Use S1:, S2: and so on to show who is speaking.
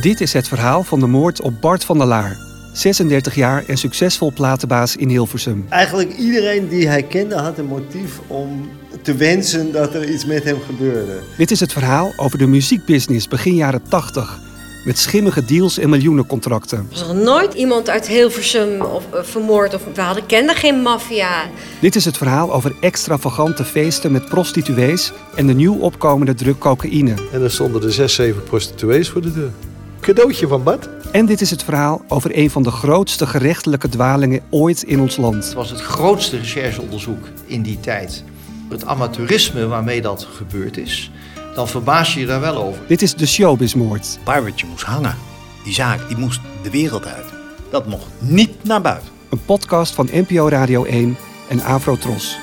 S1: Dit is het verhaal van de moord op Bart van der Laar. 36 jaar en succesvol platenbaas in Hilversum.
S2: Eigenlijk iedereen die hij kende had een motief om te wensen dat er iets met hem gebeurde.
S1: Dit is het verhaal over de muziekbusiness begin jaren 80. Met schimmige deals en miljoenencontracten.
S3: Er was nog nooit iemand uit Hilversum of, eh, vermoord. Of, we hadden, kenden geen maffia.
S1: Dit is het verhaal over extravagante feesten met prostituees en de nieuw opkomende druk cocaïne.
S4: En er stonden er zes, zeven prostituees voor de deur. Cadeautje van Bart.
S1: En dit is het verhaal over een van de grootste gerechtelijke dwalingen ooit in ons land.
S5: Het was het grootste rechercheonderzoek in die tijd. Het amateurisme waarmee dat gebeurd is, dan verbaas je je daar wel over.
S1: Dit is de showbizmoord.
S6: Barbertje moest hangen. Die zaak die moest de wereld uit. Dat mocht niet naar buiten.
S1: Een podcast van NPO Radio 1 en Afro Tros.